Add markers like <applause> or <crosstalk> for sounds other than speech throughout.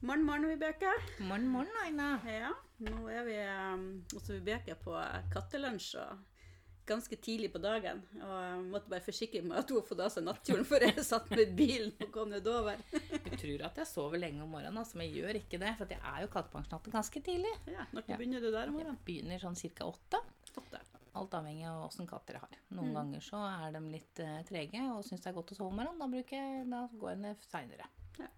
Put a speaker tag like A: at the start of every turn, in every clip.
A: Morgen, morgen, Vibeke.
B: Morgen, morgen, Aina.
A: Ja, nå er vi um, hos Vibeke på kattelunsj og ganske tidlig på dagen. Og jeg måtte bare forsikre meg at hun hadde fått av seg nattkjolen før jeg satt med bilen og kom ned over.
B: Jeg tror at jeg sover lenge om morgenen, altså, men jeg gjør ikke det. For at jeg er jo kattepensjonatet ganske tidlig.
A: Ja, når
B: Ja.
A: begynner du der i
B: Jeg
A: morgen?
B: begynner sånn ca. åtte.
A: Åtte.
B: Alt avhengig av åssen katter jeg har. Noen ganger så er de litt eh, trege og syns det er godt å sove om morgenen. Da, bruker jeg, da går jeg ned seinere.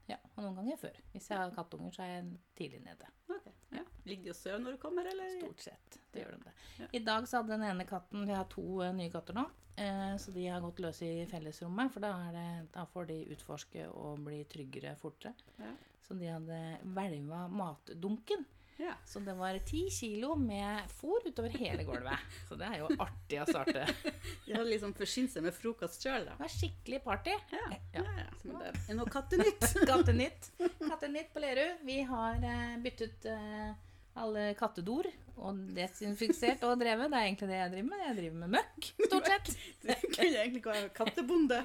A: Ja.
B: og noen ganger før. Hvis jeg har kattunger, så er jeg tidlig nede.
A: Ok, ja. Ligger de og sover når du kommer, eller?
B: Stort sett. Det gjør de det.
A: Ja.
B: I dag så hadde den ene katten Vi har to eh, nye katter nå. Eh, så de har gått løs i fellesrommet, for da, er det, da får de utforske og bli tryggere fortere.
A: Ja.
B: Så de hadde hvelva matdunken.
A: Ja.
B: Så det var ti kilo med fôr utover hele gulvet. Så det er jo artig å
A: <laughs>
B: starte. Det
A: De hadde liksom forsynt seg med frokost sjøl, da.
B: var skikkelig party.
A: Ja, ja,
B: Ja.
A: ja. Men det er noe kattenytt.
B: <laughs>
A: <laughs>
B: Kattenytt. Kattenytt på Lerud. Vi har eh, byttet eh, alle kattedor og desinfisert og drevet. Det er egentlig det jeg driver med. Jeg driver med møkk, stort sett.
A: Det kunne egentlig ikke være kattebonde.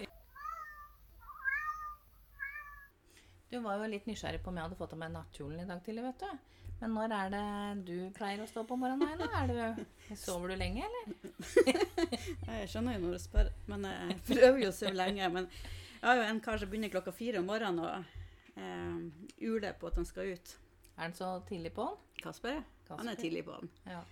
B: Du var jo litt nysgjerrig på om jeg hadde fått av meg nattkjolen i dag tidlig, vet du. Men når er det du pleier å stå på morgenen, Aina? Er du, sover du lenge, eller?
A: Jeg skjønner jo når du spør, men eh, jeg prøver jo å sove lenge. Men jeg har jo en kar som begynner klokka fire om morgenen og eh, uler på at han skal ut.
B: Er den så tidlig på den?
A: Kasper, han er
B: Kasper.
A: tidlig på han.
B: Ja.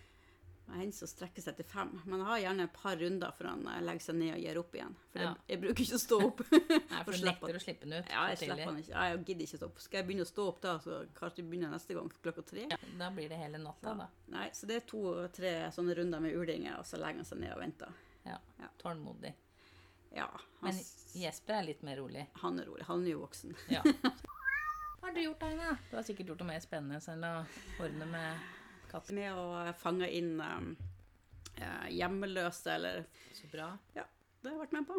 A: Jeg hender som strekker seg til fem, men jeg har gjerne et par runder før han eh, legger seg ned og gir opp igjen. For
B: Ja.
A: jeg, jeg bruker ikke å stå
B: <laughs>
A: opp.
B: Nei,
A: For
B: for du
A: slapp av.
B: nekter å slippe den ut.
A: Ja, jeg
B: så tidlig.
A: slipper han ikke. Ja, Jeg gidder ikke å stå opp. Skal jeg begynne å stå opp da, så kanskje jeg begynner neste gang klokka tre?
B: Ja, da blir det hele natta, da.
A: Nei, så det er to-tre sånne runder med ulinger, og så legger han seg ned og venter.
B: Ja.
A: Ja.
B: Tålmodig.
A: Ja, han,
B: Men Jesper er litt mer rolig.
A: han er rolig. Han er jo voksen.
B: Ja. Hva har du gjort, Aina? Du har sikkert gjort noe mer spennende enn å ordne med katter.
A: med å fange inn um, eh, hjemmeløse, eller
B: Så bra.
A: Ja, det har jeg vært med på.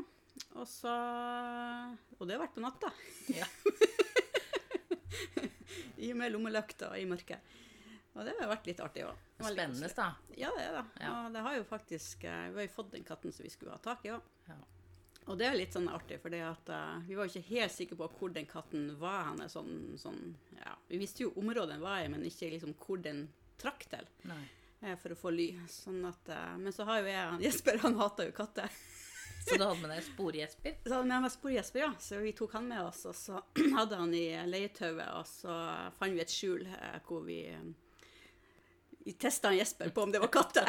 A: Og så Og det har vært på natta.
B: Ja.
A: <laughs> I og med lommelykta og i mørket. Og det har vært litt artig òg.
B: Spennende, da.
A: Ja, det er det.
B: Ja.
A: Og det har jo faktisk eh, Vi har jo fått den katten som vi skulle ha tak i òg.
B: Ja.
A: Og det er jo litt sånn artig, for vi var jo ikke helt sikre på hvor den katten var henne. Sånn, sånn, ja. Vi visste jo området den var i, men ikke liksom hvor den trakk til.
B: Nei.
A: eh, for å få ly. Sånn at, eh, men så har jo jeg Jesper, han <laughs> hater jo katter.
B: Så du hadde med deg spor-Jesper?
A: Så han med meg spor Jesper, ja. Så vi tok han med oss, og så <clears throat> hadde han i leietauet, og så fant vi et skjul eh, hvor vi eh, vi testa Jesper på om det var katter.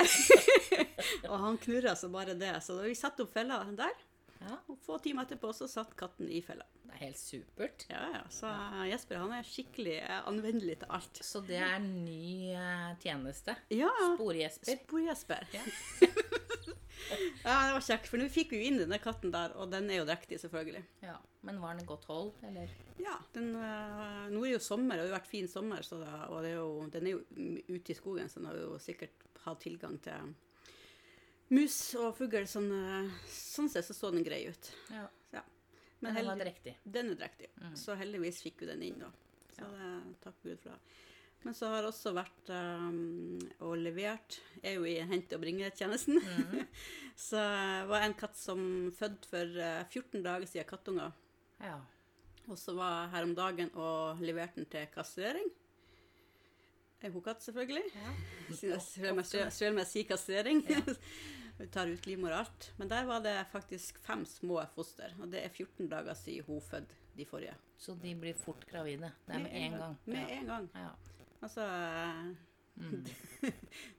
A: <laughs> og han knurra så bare det. Så da vi satte opp fella der,
B: Ja.
A: og få timer etterpå så satt katten i fella.
B: Det er helt supert.
A: Ja, ja. Så eh, Jesper han er skikkelig eh, anvendelig til alt.
B: Så det er en ny eh, tjeneste.
A: Ja.
B: Spor-Jesper.
A: Spor-Jesper.
B: Ja.
A: <laughs> Ja. det var kjekt, for nå fikk vi jo inn denne katten der, og den er jo drektig, selvfølgelig.
B: Ja. Men var den et godt hold, eller?
A: Ja, den, eh, Nå er det jo sommer, det har jo vært fin sommer, så da, og det er jo, den er jo m- ute i skogen, så den har jo sikkert hatt tilgang til mus og fugl. Sånn, eh, sånn sett så så den grei ut.
B: Ja.
A: Ja. Men
B: Men den var
A: heldig-
B: drektig.
A: den er drektig. Så heldigvis fikk vi den inn, da. Så det, takk Gud for det. Men så har jeg også vært um, og levert Jeg er jo i hente- og bringetjenesten. <laughs> så eh, var en katt som fødte for eh, 14 dager siden kattunger.
B: Ja.
A: Og så var jeg her om dagen og leverte den til kastrering. En hokatt, selvfølgelig.
B: <laughs> ja.
A: Siden jeg selv om jeg- selv om jeg sier kastrering. <laughs> Vi tar ut livmor og alt. Men der var det faktisk fem små foster. Og det er 14 dager siden hun fødte de forrige.
B: Så de blir fort gravide. Det er med en gang.
A: Med en gang.
B: Ja. Mm.
A: Altså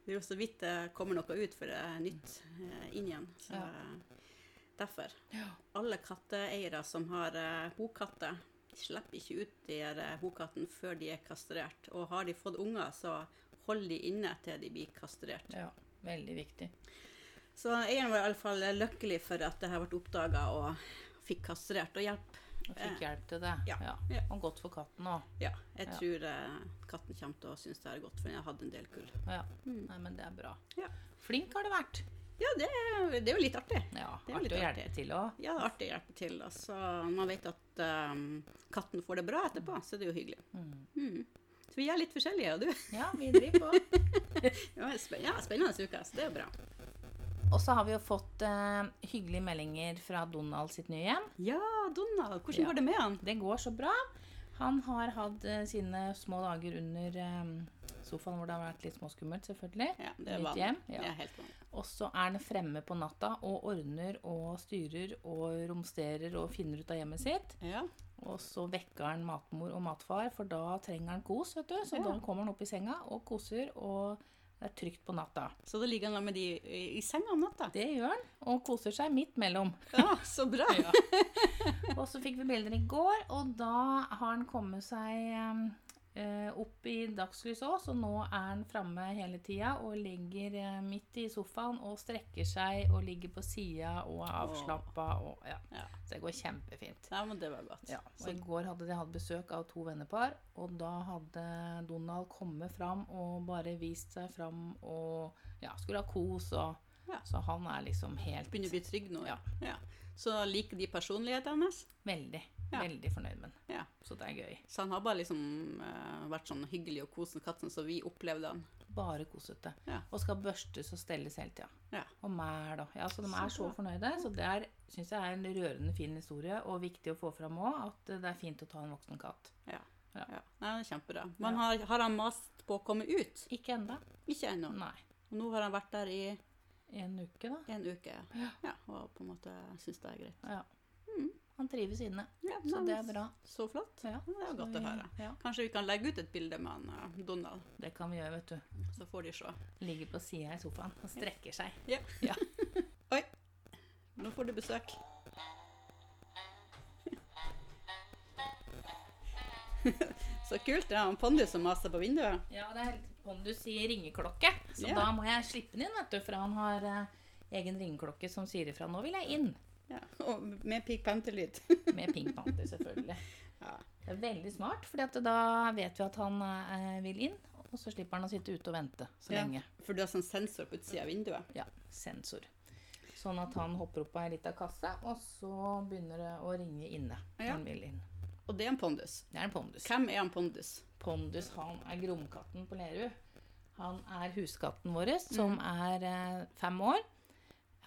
A: Det er jo så vidt det kommer noe ut for det er nytt eh, inn igjen. Så
B: Ja.
A: derfor.
B: Ja.
A: Alle katteeiere som har eh, hokatter, slipper ikke ut de her eh, hokatten før de er kastrert. Og har de fått unger, så holder de inne til de blir kastrert.
B: ja. Veldig viktig.
A: Så eieren var iallfall eh, lykkelig for at det her ble oppdaga og fikk kastrert og hjelp.
B: Og fikk hjelp til det.
A: Ja.
B: ja. Og godt for katten òg.
A: Ja, jeg
B: Ja.
A: tror eh, katten kommer til å synes det er godt, for den har hatt en del kull.
B: Ja. Nei, men det er bra.
A: Mm. Ja.
B: Flink har du vært.
A: Ja, det, er- det er jo litt artig.
B: Ja.
A: Det er jo
B: Artig
A: litt artig.
B: å hjelpe til òg.
A: Ja, det er artig å hjelpe til. Altså, man vet at ehm, katten får det bra etterpå, så det er jo hyggelig. Mm. Så vi er litt forskjellige, og du.
B: Ja, vi driver på.
A: <laughs> Ja, spen ja spennende uke, så det er bra.
B: Og så har vi jo fått eh, hyggelige meldinger fra Donald sitt nye hjem.
A: Ja, Donald, hvordan
B: Ja.
A: går det med han?
B: Det går så bra. Han har hatt eh, sine små dager under eh, sofaen hvor det har vært litt småskummelt, selvfølgelig.
A: Ja, det er
B: Mitt
A: vanlig.
B: hjem,
A: Ja.
B: ja.
A: Det er helt vanlig.
B: Og så er han fremme på natta og ordner og styrer og romsterer og finner ut av hjemmet sitt.
A: Ja.
B: Og så vekker han matmor og matfar, for da trenger han kos, vet du. Så
A: Ja.
B: da kommer han opp i senga og koser, og det er trygt på natta.
A: Så da ligger han da med de i, i senga om <laughs> natta.
B: Det gjør han, og koser seg midt mellom.
A: Ja, så bra!
B: Og så fikk vi bilder i går, og da har han kommet seg eh, opp i dagslys òg, så nå er han framme hele tida og ligger eh, midt i sofaen og strekker seg og ligger på sida og er avslappa og ja.
A: Ja.
B: Så det går kjempefint.
A: <laughs> Ja, men det var godt.
B: Ja, og
A: så,
B: I går hadde de hatt besøk av to vennepar, og da hadde Donald kommet fram og bare vist seg fram og ja, skulle ha kos og
A: Ja.
B: Så han er liksom helt
A: begynner å bli trygg nå.
B: Ja.
A: ja. Så liker de personligheten hennes.
B: Veldig,
A: Ja.
B: veldig fornøyd med den.
A: Ja.
B: Så det er gøy.
A: Så han har bare liksom eh, vært sånn hyggelig og kosende katt, sånn som vi opplevde han.
B: Bare kosete.
A: Ja.
B: Og skal børstes og stelles hele tida.
A: Ja.
B: Og mæl og Ja, så de er
A: Så
B: så
A: bra.
B: fornøyde. Så det er, syns jeg er en rørende fin historie, og viktig å få fram òg, at eh, det er fint å ta en voksen katt.
A: Ja.
B: Ja.
A: Ja. Nei, det er kjempebra. Men har, har han mast på å komme ut?
B: Ikke enda.
A: Ikke ennå.
B: Nei.
A: Og nå har han vært der i
B: En uke, da.
A: en uke. Ja. og på en måte syns det er greit.
B: Ja. Han trives inne.
A: Ja,
B: Så
A: nei,
B: det er bra.
A: Så flott.
B: Ja,
A: Det er jo
B: så
A: godt å
B: vi-
A: høre.
B: Ja,
A: Kanskje vi kan legge ut et bilde med han, eh, Donald,
B: det kan vi gjøre, vet du.
A: så får de se.
B: Ligger på sida i sofaen og strekker seg.
A: Oi, nå får du besøk. <laughs> Så kult. Det er han Pondus som maser på vinduet.
B: Ja, det er helt Pondus sier ringeklokke, så
A: Ja.
B: da må jeg slippe den inn, vet du. For han har eh, egen ringeklokke som sier ifra 'nå vil jeg inn'.
A: Ja, og med Pig Panther-lyd.
B: Med Pink Panther, selvfølgelig.
A: Ja.
B: Det er veldig smart, for da vet vi at han eh, vil inn, og så slipper han å sitte ute og vente så
A: Ja.
B: lenge.
A: <laughs> For du har sånn sensor på utsida av vinduet.
B: Ja, sensor. Sånn at han hopper opp av ei lita kasse, og så begynner det å ringe inne. når
A: Ja.
B: Han vil inn.
A: Og det er en Pondus.
B: Det er en pondus.
A: Hvem er han Pondus?
B: Pondus han er gromkatten på Lerud. Han er huskatten vår, som er eh, fem år.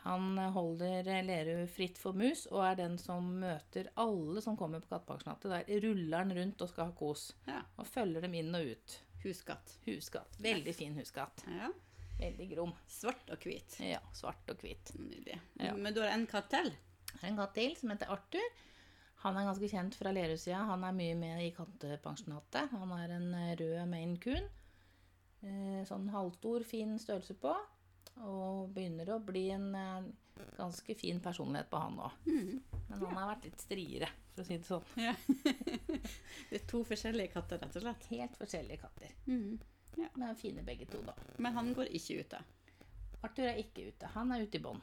B: Han eh, holder eh, Lerud fritt for mus, og er den som møter alle som kommer på Kattepakkenattet. Der ruller han rundt og skal ha kos,
A: Ja,
B: og følger dem inn og ut.
A: Huskatt.
B: Huskatt. Veldig fin huskatt.
A: Ja.
B: Veldig grom.
A: Svart og hvit.
B: Ja, svart og hvit.
A: Nydelig.
B: Ja.
A: Men du har en katt til?
B: Det er en katt til som heter Arthur. Han er ganske kjent fra Lerøy-sida. Han er mye med i kattepensjonatet. Han er en eh, rød Maine Coon. Eh, Sånn halvstor, fin størrelse på. Og begynner å bli en eh, ganske fin personlighet på han òg.
A: Mm.
B: Men han har vært litt striere, for å si det sånn.
A: Ja. Det er to forskjellige katter, rett og slett.
B: Helt forskjellige katter.
A: Mm.
B: Men fine begge to, da.
A: Men han går ikke ute.
B: Arthur er ikke ute. Han er ute i bånd.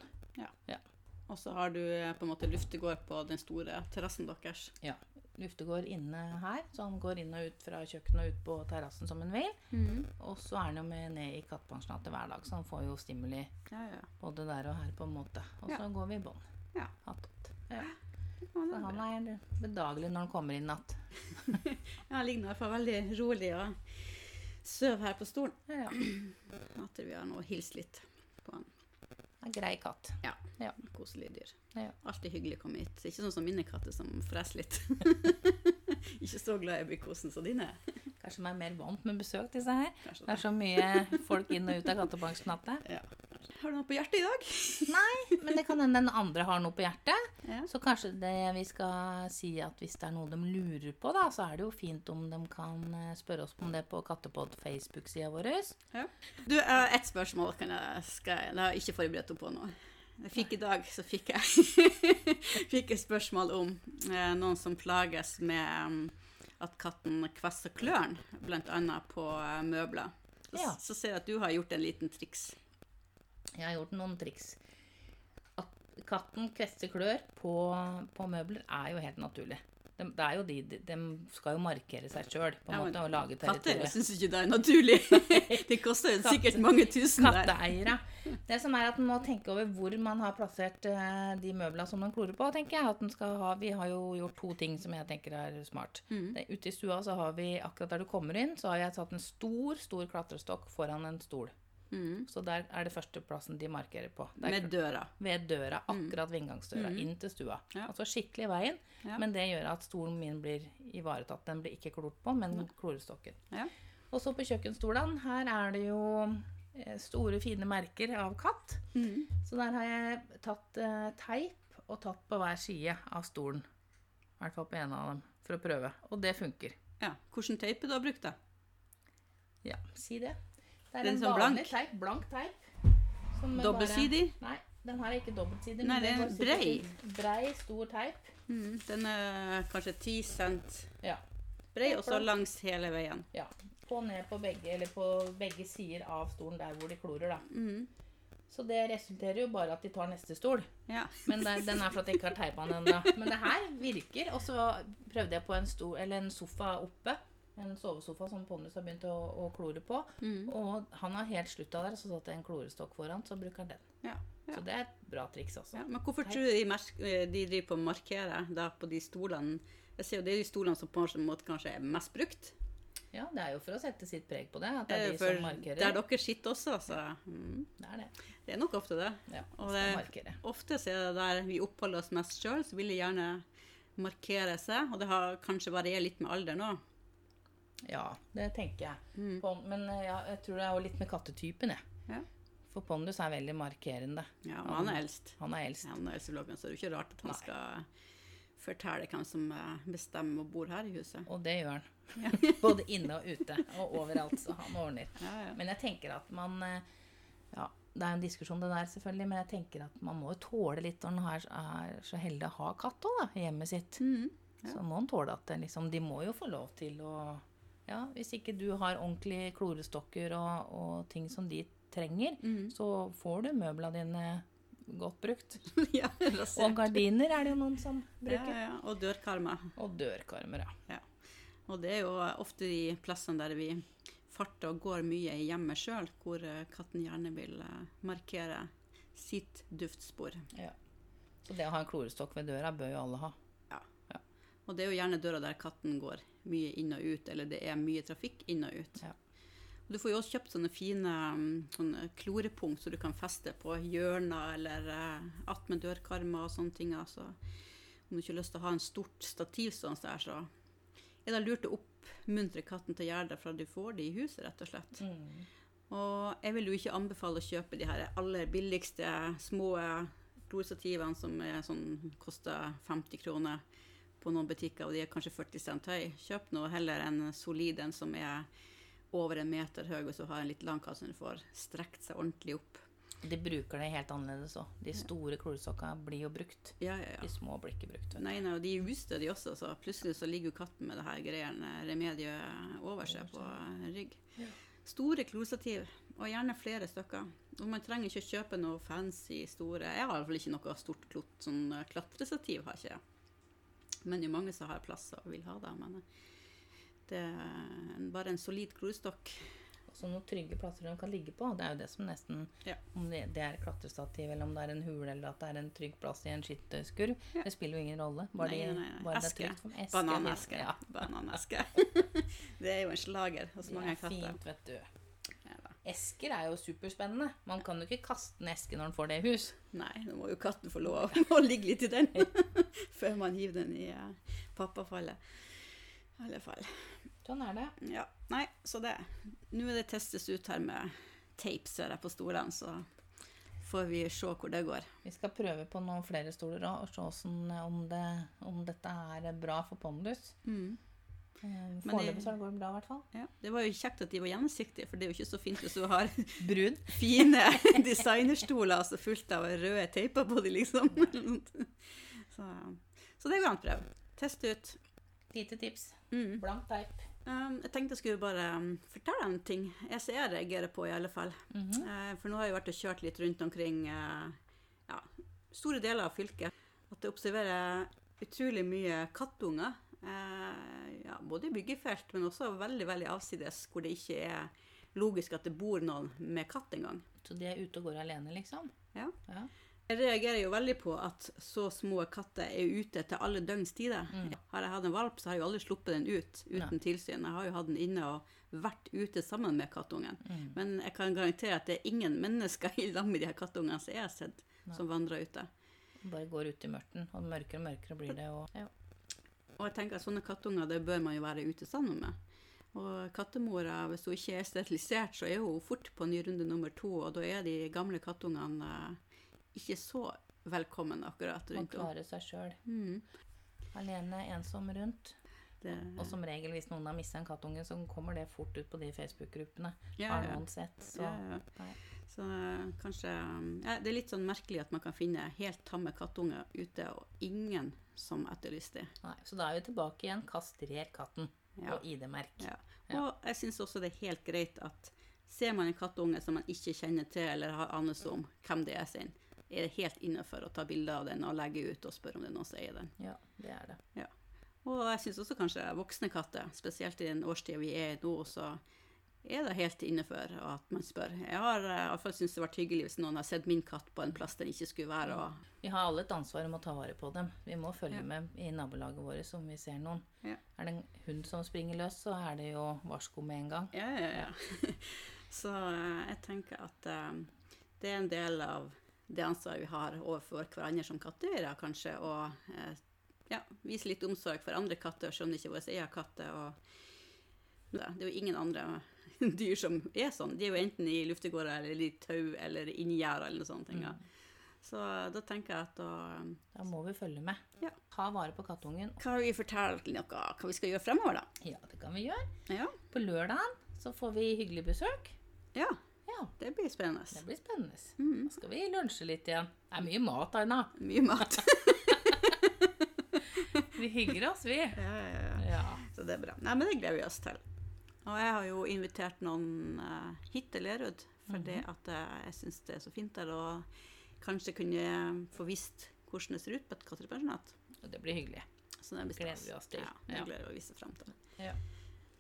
A: Og så har du eh, på en måte luftegård på den store terrassen deres.
B: Ja. Luftegård inne her, så han går inn og ut fra kjøkkenet og ut på terrassen som han vil.
A: Mm.
B: Og så er han jo med ned i kattepensjonatet hver dag, så han får jo stimuli
A: Ja, ja.
B: både der og her, på en måte. Og så går vi i bånd.
A: Ja.
B: Attåt. Ja.
A: Ja, det
B: Så
A: er bra.
B: han er bedagelig når han kommer inn natt.
A: Ja, han ligger nå i hvert fall veldig rolig og sover her på stolen.
B: Ja.
A: At vi har nå hilst litt på han.
B: En grei katt.
A: Ja.
B: Ja.
A: Koselig dyr.
B: Ja.
A: Alltid hyggelig å komme hit. Ikke sånn som mine katter som freser <laughs> litt. ikke så glad i bykosen som dine. er.
B: Kanskje de er mer vant med besøk, disse her.
A: Kanskje
B: Det er så mye folk inn og ut av kattepensjonatet.
A: det. Ja. Har du noe på hjertet i dag?
B: Men det kan hende den andre har noe på hjertet.
A: Ja.
B: Så kanskje det vi skal si at hvis det er noe de lurer på, da, så er det jo fint om de kan eh, spørre oss om det på Kattepod Facebook-sida vår.
A: Ja. Du, jeg har ett spørsmål kan jeg, skal jeg, det har jeg ikke forberedt henne på nå. Jeg fikk i dag så fikk jeg, <laughs> fikk jeg spørsmål om eh, noen som plages med um, at katten kvesser klørne, bl.a. på eh, møbler. Så,
B: Ja.
A: så ser jeg at du har gjort en liten triks.
B: Jeg har gjort noen triks. At katten kvester klør på, på møbler er jo helt naturlig. De, det er jo de, de, de skal jo markere seg sjøl
A: Ja, men
B: og lage
A: Katter
B: territorium.
A: syns ikke det er naturlig.
B: <laughs>
A: Det koster jo sikkert mange tusen sånn der.
B: Katteeiere. Det som er at en må tenke over hvor man har plassert eh, de møblene som man klorer på. tenker jeg. At en skal ha, vi har jo gjort to ting som jeg tenker er smart.
A: Mm.
B: Det, ute i stua så har vi, akkurat der du kommer inn, så har jeg satt en stor stor klatrestokk foran en stol.
A: Mm.
B: Så der er det førsteplassen de markerer på. Det er
A: Med døra.
B: ved døra, akkurat ved inngangsdøra, inn til stua.
A: Mm. Ja.
B: Altså skikkelig i veien,
A: Ja.
B: men det gjør at stolen min blir ivaretatt. Den blir ikke klort på, men klorestokken.
A: Ja.
B: Og så på kjøkkenstolene, her er det jo eh, store, fine merker av katt.
A: Mm.
B: Så der har jeg tatt eh, teip og tatt på hver side av stolen. I hvert fall på en av dem, for å prøve. Og det funker.
A: ja. Hvilken tøype du har brukt, da?
B: Ja, si det. Det
A: Den som blank?
B: teip. Blank teip. som bare-
A: Dobbeltsidig?
B: Nei, den her er ikke dobbeltsidig.
A: Nei,
B: men
A: det er
B: går sikkert
A: brei.
B: i Brei, stor teip.
A: Mm. Den er kanskje 10 cent
B: Ja.
A: brei, og så langs hele veien.
B: ja. På ned på begge, eller på begge sider av stolen der hvor de klorer, da.
A: Mm.
B: Så det resulterer jo bare at de tar neste stol.
A: Ja.
B: Men det, den er for at jeg ikke har teipa den ennå. Men det her virker. Og så prøvde jeg på en, sto, eller en sofa oppe. En sovesofa som Pondus har begynt å, å klore på.
A: Mm.
B: Og han har helt slutta der, så satte jeg en klorestokk foran, så bruker han den.
A: Ja. Ja.
B: Så det er et bra triks også.
A: Ja, men hvorfor tror du de, merk- eh, de driver på å markere da på de stolene? Jeg ser jo det er de stolene som på en måte kanskje er mest brukt.
B: Ja, det er jo for å sette sitt preg på det. At det
A: Eh,
B: er de
A: For
B: som markerer.
A: der dere sitter også, så mm.
B: Det er det.
A: Det er nok ofte det.
B: Ja,
A: Og
B: skal
A: det-
B: markere.
A: Ofte så er det der vi oppholder oss mest sjøl, så vil de gjerne markere seg. Og det har kanskje variert litt med alderen òg.
B: Ja, det tenker jeg. På, men eh, ja, jeg tror det er jo litt med kattetypen, jeg.
A: Mm. Ja.
B: For Pondus er veldig markerende.
A: Ja, og han er eldst.
B: Han er eldst.
A: Han er eldst i blokken, så det er jo ikke rart at han
B: Nei.
A: skal fortelle hvem som eh, bestemmer og bor her i huset.
B: Og det gjør han. <laughs> Både inne og ute og overalt. Så han ordner.
A: Ja, ja.
B: Men jeg tenker at man eh, Ja, det er en diskusjon det der, selvfølgelig, men jeg tenker at man må jo tåle litt når man er, er så heldig å ha katt òg, da, i hjemmet sitt.
A: Mm.
B: Så må man tåle at det liksom De må jo få lov til å Ja, hvis ikke du har ordentlige klorestokker og, og ting som de trenger,
A: Mm.
B: så får du møblene dine godt brukt.
A: <laughs> <laughs> ja, rasert.
B: Og gardiner er det jo noen som
A: ja,
B: bruker.
A: ja. Og dørkarmer.
B: Og dørkarmer, ja.
A: Ja. Og det er jo ofte de plassene der vi farter og går mye i hjemmet sjøl, hvor eh, katten gjerne vil eh, markere sitt duftspor.
B: Ja. Så det å ha en klorestokk ved døra bør jo alle ha.
A: Og det er jo gjerne døra der katten går mye inn og ut, eller det er mye trafikk inn og ut.
B: Ja.
A: Og du får jo også kjøpt sånne fine mm, sånne klorepunkt som du kan feste på hjørner eller eh, attmed dørkarmer og sånne ting. Altså. Om du ikke har lyst til å ha en stort stativ sånn som det er, så er det lurt å oppmuntre katten til å gjøre det fra du får det i huset, rett og slett. Og jeg vil jo ikke anbefale å kjøpe de her aller billigste små klorstativene som er sånn, koster 50 kroner på noen butikker, og de er kanskje 40 cent høy. Kjøp nå heller en solid en som er over en meter høy, og så har en litt lang kasse, så den får strekt seg ordentlig opp.
B: De bruker det helt annerledes òg. De store klorestokka blir jo brukt.
A: Ja, ja,
B: De
A: ja.
B: små blir ikke brukt. vet du.
A: Nei, nei, og de er ustødige også, så plutselig så ligger jo katten med det her greiene, remediet over seg på rygg. Store klostativ, og gjerne flere stykker. Og man trenger ikke å kjøpe noe fancy store Jeg har i hvert fall ikke noe stort klot, sånn eh, klatrestativ har ikke jeg. Men det er jo mange som har plass og vil ha det. Men eh, det er en- bare en solid klorstokk.
B: Og så noen trygge plasser de kan ligge på. Det er jo det som nesten
A: Ja.
B: Om det, det er klatrestativ, eller om det er en hule, eller at det er en trygg plass i en skytterskurv, det spiller jo ingen rolle. Bare,
A: Nei,
B: de-
A: nei, nei.
B: bare det er
A: Eske.
B: trygt for dem. Eske,
A: Bananeske. <laughs>
B: Ja.
A: Bananeske. det er jo en slager hos
B: Det
A: mange
B: er
A: katter.
B: fint, vet du.
A: Ja da.
B: Esker er jo superspennende. Man kan jo ikke kaste en eske når man får det i hus.
A: Nei, nå må jo katten få lov å <laughs> ligge litt i den før man hiver den i eh, pappafallet. I alle fall.
B: Sånn er det.
A: Ja. Nei, så det Nå er det testes ut her med teip, ser jeg, på stolene, så får vi se hvor det går.
B: Vi skal prøve på noen flere stoler òg, og se hvordan, om, det, om dette er bra for pondus.
A: Mm.
B: Eh, Foreløpig så går det bra, i hvert fall.
A: Ja. Det var jo kjekt at de var gjennomsiktige, for det er jo ikke så fint hvis du har <laughs>
B: Brun.
A: fine <laughs> designerstoler altså fullt av røde teiper på dem, liksom. <laughs> Så, så det går an å prøve. Test ut.
B: Lite tips.
A: Mm.
B: Blank teip.
A: Um, jeg tenkte jeg skulle bare um, fortelle en ting. Jeg ser jeg reagerer på, i alle fall. Eh, for nå har jeg vært og kjørt litt rundt omkring eh, ja, store deler av fylket. At jeg observerer utrolig mye kattunger. eh, ja, både i byggefelt, men også veldig veldig avsides, hvor det ikke er logisk at det bor noen med katt engang.
B: Så de er ute og går alene, liksom?
A: Ja.
B: Ja.
A: Jeg reagerer jo veldig på at så små katter er ute til alle døgns tider. Har jeg hatt en valp, så har jeg jo aldri sluppet den ut uten tilsyn. Jeg har jo hatt den inne og vært ute sammen med kattungen. Men jeg kan garantere at det er ingen mennesker i lag med de her kattungene som jeg har sett, som vandrer ute.
B: Bare går ut i mørten, og mørkere og mørkere blir det. Og, ja.
A: Og jeg tenker at sånne kattunger, det bør man jo være ute sammen med. Og kattemora, hvis hun ikke er sterilisert, så er hun fort på ny runde nummer to, og da er de gamle kattungene eh, ikke så velkommen akkurat
B: Man
A: rundt henne.
B: klarer seg sjøl.
A: Mm.
B: Alene, ensom rundt.
A: Det,
B: Og som regel, hvis noen har mista en kattunge, så kommer det fort ut på de Facebook-gruppene.
A: Ja,
B: Har
A: ja.
B: noen sett, så
A: ja, ja.
B: Nei.
A: Så eh, kanskje mm, ja, Det er litt sånn merkelig at man kan finne helt tamme kattunger ute, og ingen som etterlyser dem.
B: Nei, så da er vi tilbake igjen. Kastrer katten
A: Ja.
B: og ID-merk.
A: Ja.
B: Ja.
A: Og jeg syns også det er helt greit at ser man en kattunge som man ikke kjenner til eller har anelse om hvem det er sin, er det helt innafor å ta bilde av den og legge ut og spørre om det er noen som eier den.
B: Ja, det er det.
A: Ja. Og jeg syns også kanskje voksne katter, spesielt i den årstida vi er i nå, så er det helt innenfor at man spør. Jeg har eh, i hvert fall syntes det var hyggelig hvis noen har sett min katt på en plass den ikke skulle være. Og,
B: Vi har alle et ansvar om å ta vare på dem. Vi må følge med i nabolaget vårt om vi ser noen.
A: Ja.
B: Er det en hund som springer løs, så er det jo varsko med en gang.
A: ja, ja, <laughs> ja. så eh, jeg tenker at eh, det er en del av det ansvaret vi har overfor hverandre som katteeiere, kanskje. Og eh, ja, vise litt omsorg for andre katter, selv om det ikke er vår egen katt. er, Og det er jo ingen andre <laughs> dyr som er sånn. De er jo enten i luftegårder eller i tau eller inni gjerder eller noe sånt. ting, ja. Så eh, da tenker jeg at eh, da
B: Da må vi følge med.
A: Ja.
B: Ta vare på kattungen.
A: Hva har vi fortalt noe? Hva vi skal gjøre fremover, da?
B: Ja, det kan vi gjøre.
A: Ja,
B: På lørdagen så får vi hyggelig besøk.
A: ja
B: Ja,
A: det blir spennende. Mm.
B: det blir spennende. Da skal vi lunsje litt igjen. Det er mye mat, Aina.
A: Mye mat.
B: Vi hygger oss, vi.
A: <laughs> ja, ja, ja.
B: Ja.
A: Så det er bra. Nei, men det gleder vi oss til. Og jeg har jo invitert noen eh, hit til Lerud, fordi
B: Mhm.
A: at eh, jeg syns det er så fint der. Og kanskje kunne få visst hvordan det ser ut på et kattepensjonat.
B: Og det blir hyggelig.
A: Så det blir
B: Gleder
A: stas.
B: vi oss til.
A: Ja, det
B: Ja.
A: gleder vi oss frem til.
B: Ja.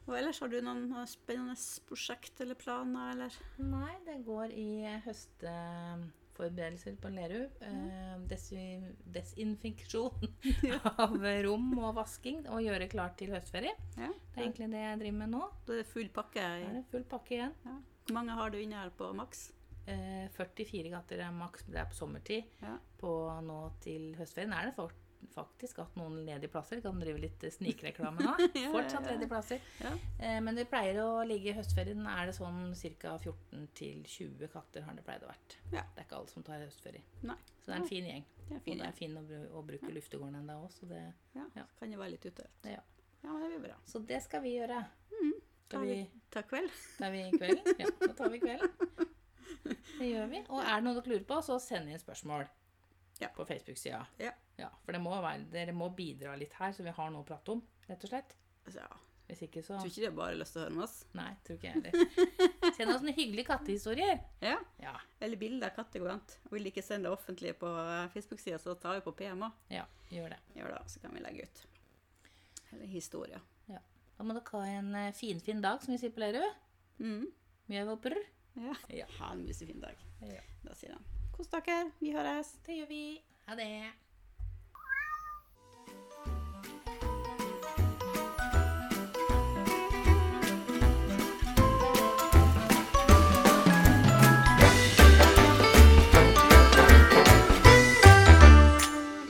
A: Og ellers har du noen eh, spennende prosjekt eller planer, eller?
B: Nei, det går i høstforberedelser på Lerud. Eh, desi- Desinfeksjon <laughs> av rom og vasking og gjøre klart til høstferie.
A: Ja.
B: Det er egentlig det jeg driver med nå.
A: Da er det full pakke.
B: Da er
A: I,
B: det full pakke igjen.
A: ja. Hvor mange har du inne her på maks?
B: Eh, 44 katter er maks. Det er på sommertid.
A: Ja.
B: På nå til høstferien er det fort- faktisk at noen ledige plasser. Kan drive litt eh, snikreklame <laughs> nå.
A: ja, <laughs>
B: Fortsatt
A: ja.
B: ledige plasser.
A: Ja.
B: Eh, men det pleier å ligge i høstferien er det sånn ca. 14-20 katter har det pleid å vært.
A: Ja.
B: Det er ikke alle som tar høstferie.
A: Nei.
B: Så det er en fin gjeng.
A: Det er
B: Og
A: fint.
B: det er fin å, bru- å bruke luftegården enda òg, så det,
A: Ja.
B: Ja.
A: Så kan jo være litt ute.
B: ja.
A: Ja, men det blir bra.
B: Så det skal vi gjøre.
A: Ta,
B: Skal vi,
A: ta kveld.
B: tar vi kvelden? Ja, da tar vi kvelden. Det gjør vi. Og er det noe dere lurer på, så send inn spørsmål
A: Ja.
B: på Facebook-sida.
A: Ja.
B: for det må være, dere må bidra litt her, så vi har noe å prate om, rett og slett.
A: Altså, ja.
B: Hvis ikke, så
A: Jeg tror ikke det er bare lyst til å høre om oss.
B: Nei, tror ikke jeg heller. Send oss noen hyggelige kattehistorier.
A: Ja.
B: Ja.
A: Eller bilder av katter går an. Vil ikke sende det offentlig på eh, Facebook-sida, så tar vi på PM òg.
B: ja gjør det.
A: Gjør det, så kan vi legge ut. Eller historier.
B: Ja. Da må dere ha en eh, finfin fin dag, som vi sier på Lerud.
A: Mm.
B: Mjau og prr.
A: Ja.
B: Ja.
A: Ha en musefin dag.
B: Ja.
A: Da sier han kos dere, vi høres.
B: Det gjør vi. Ha det.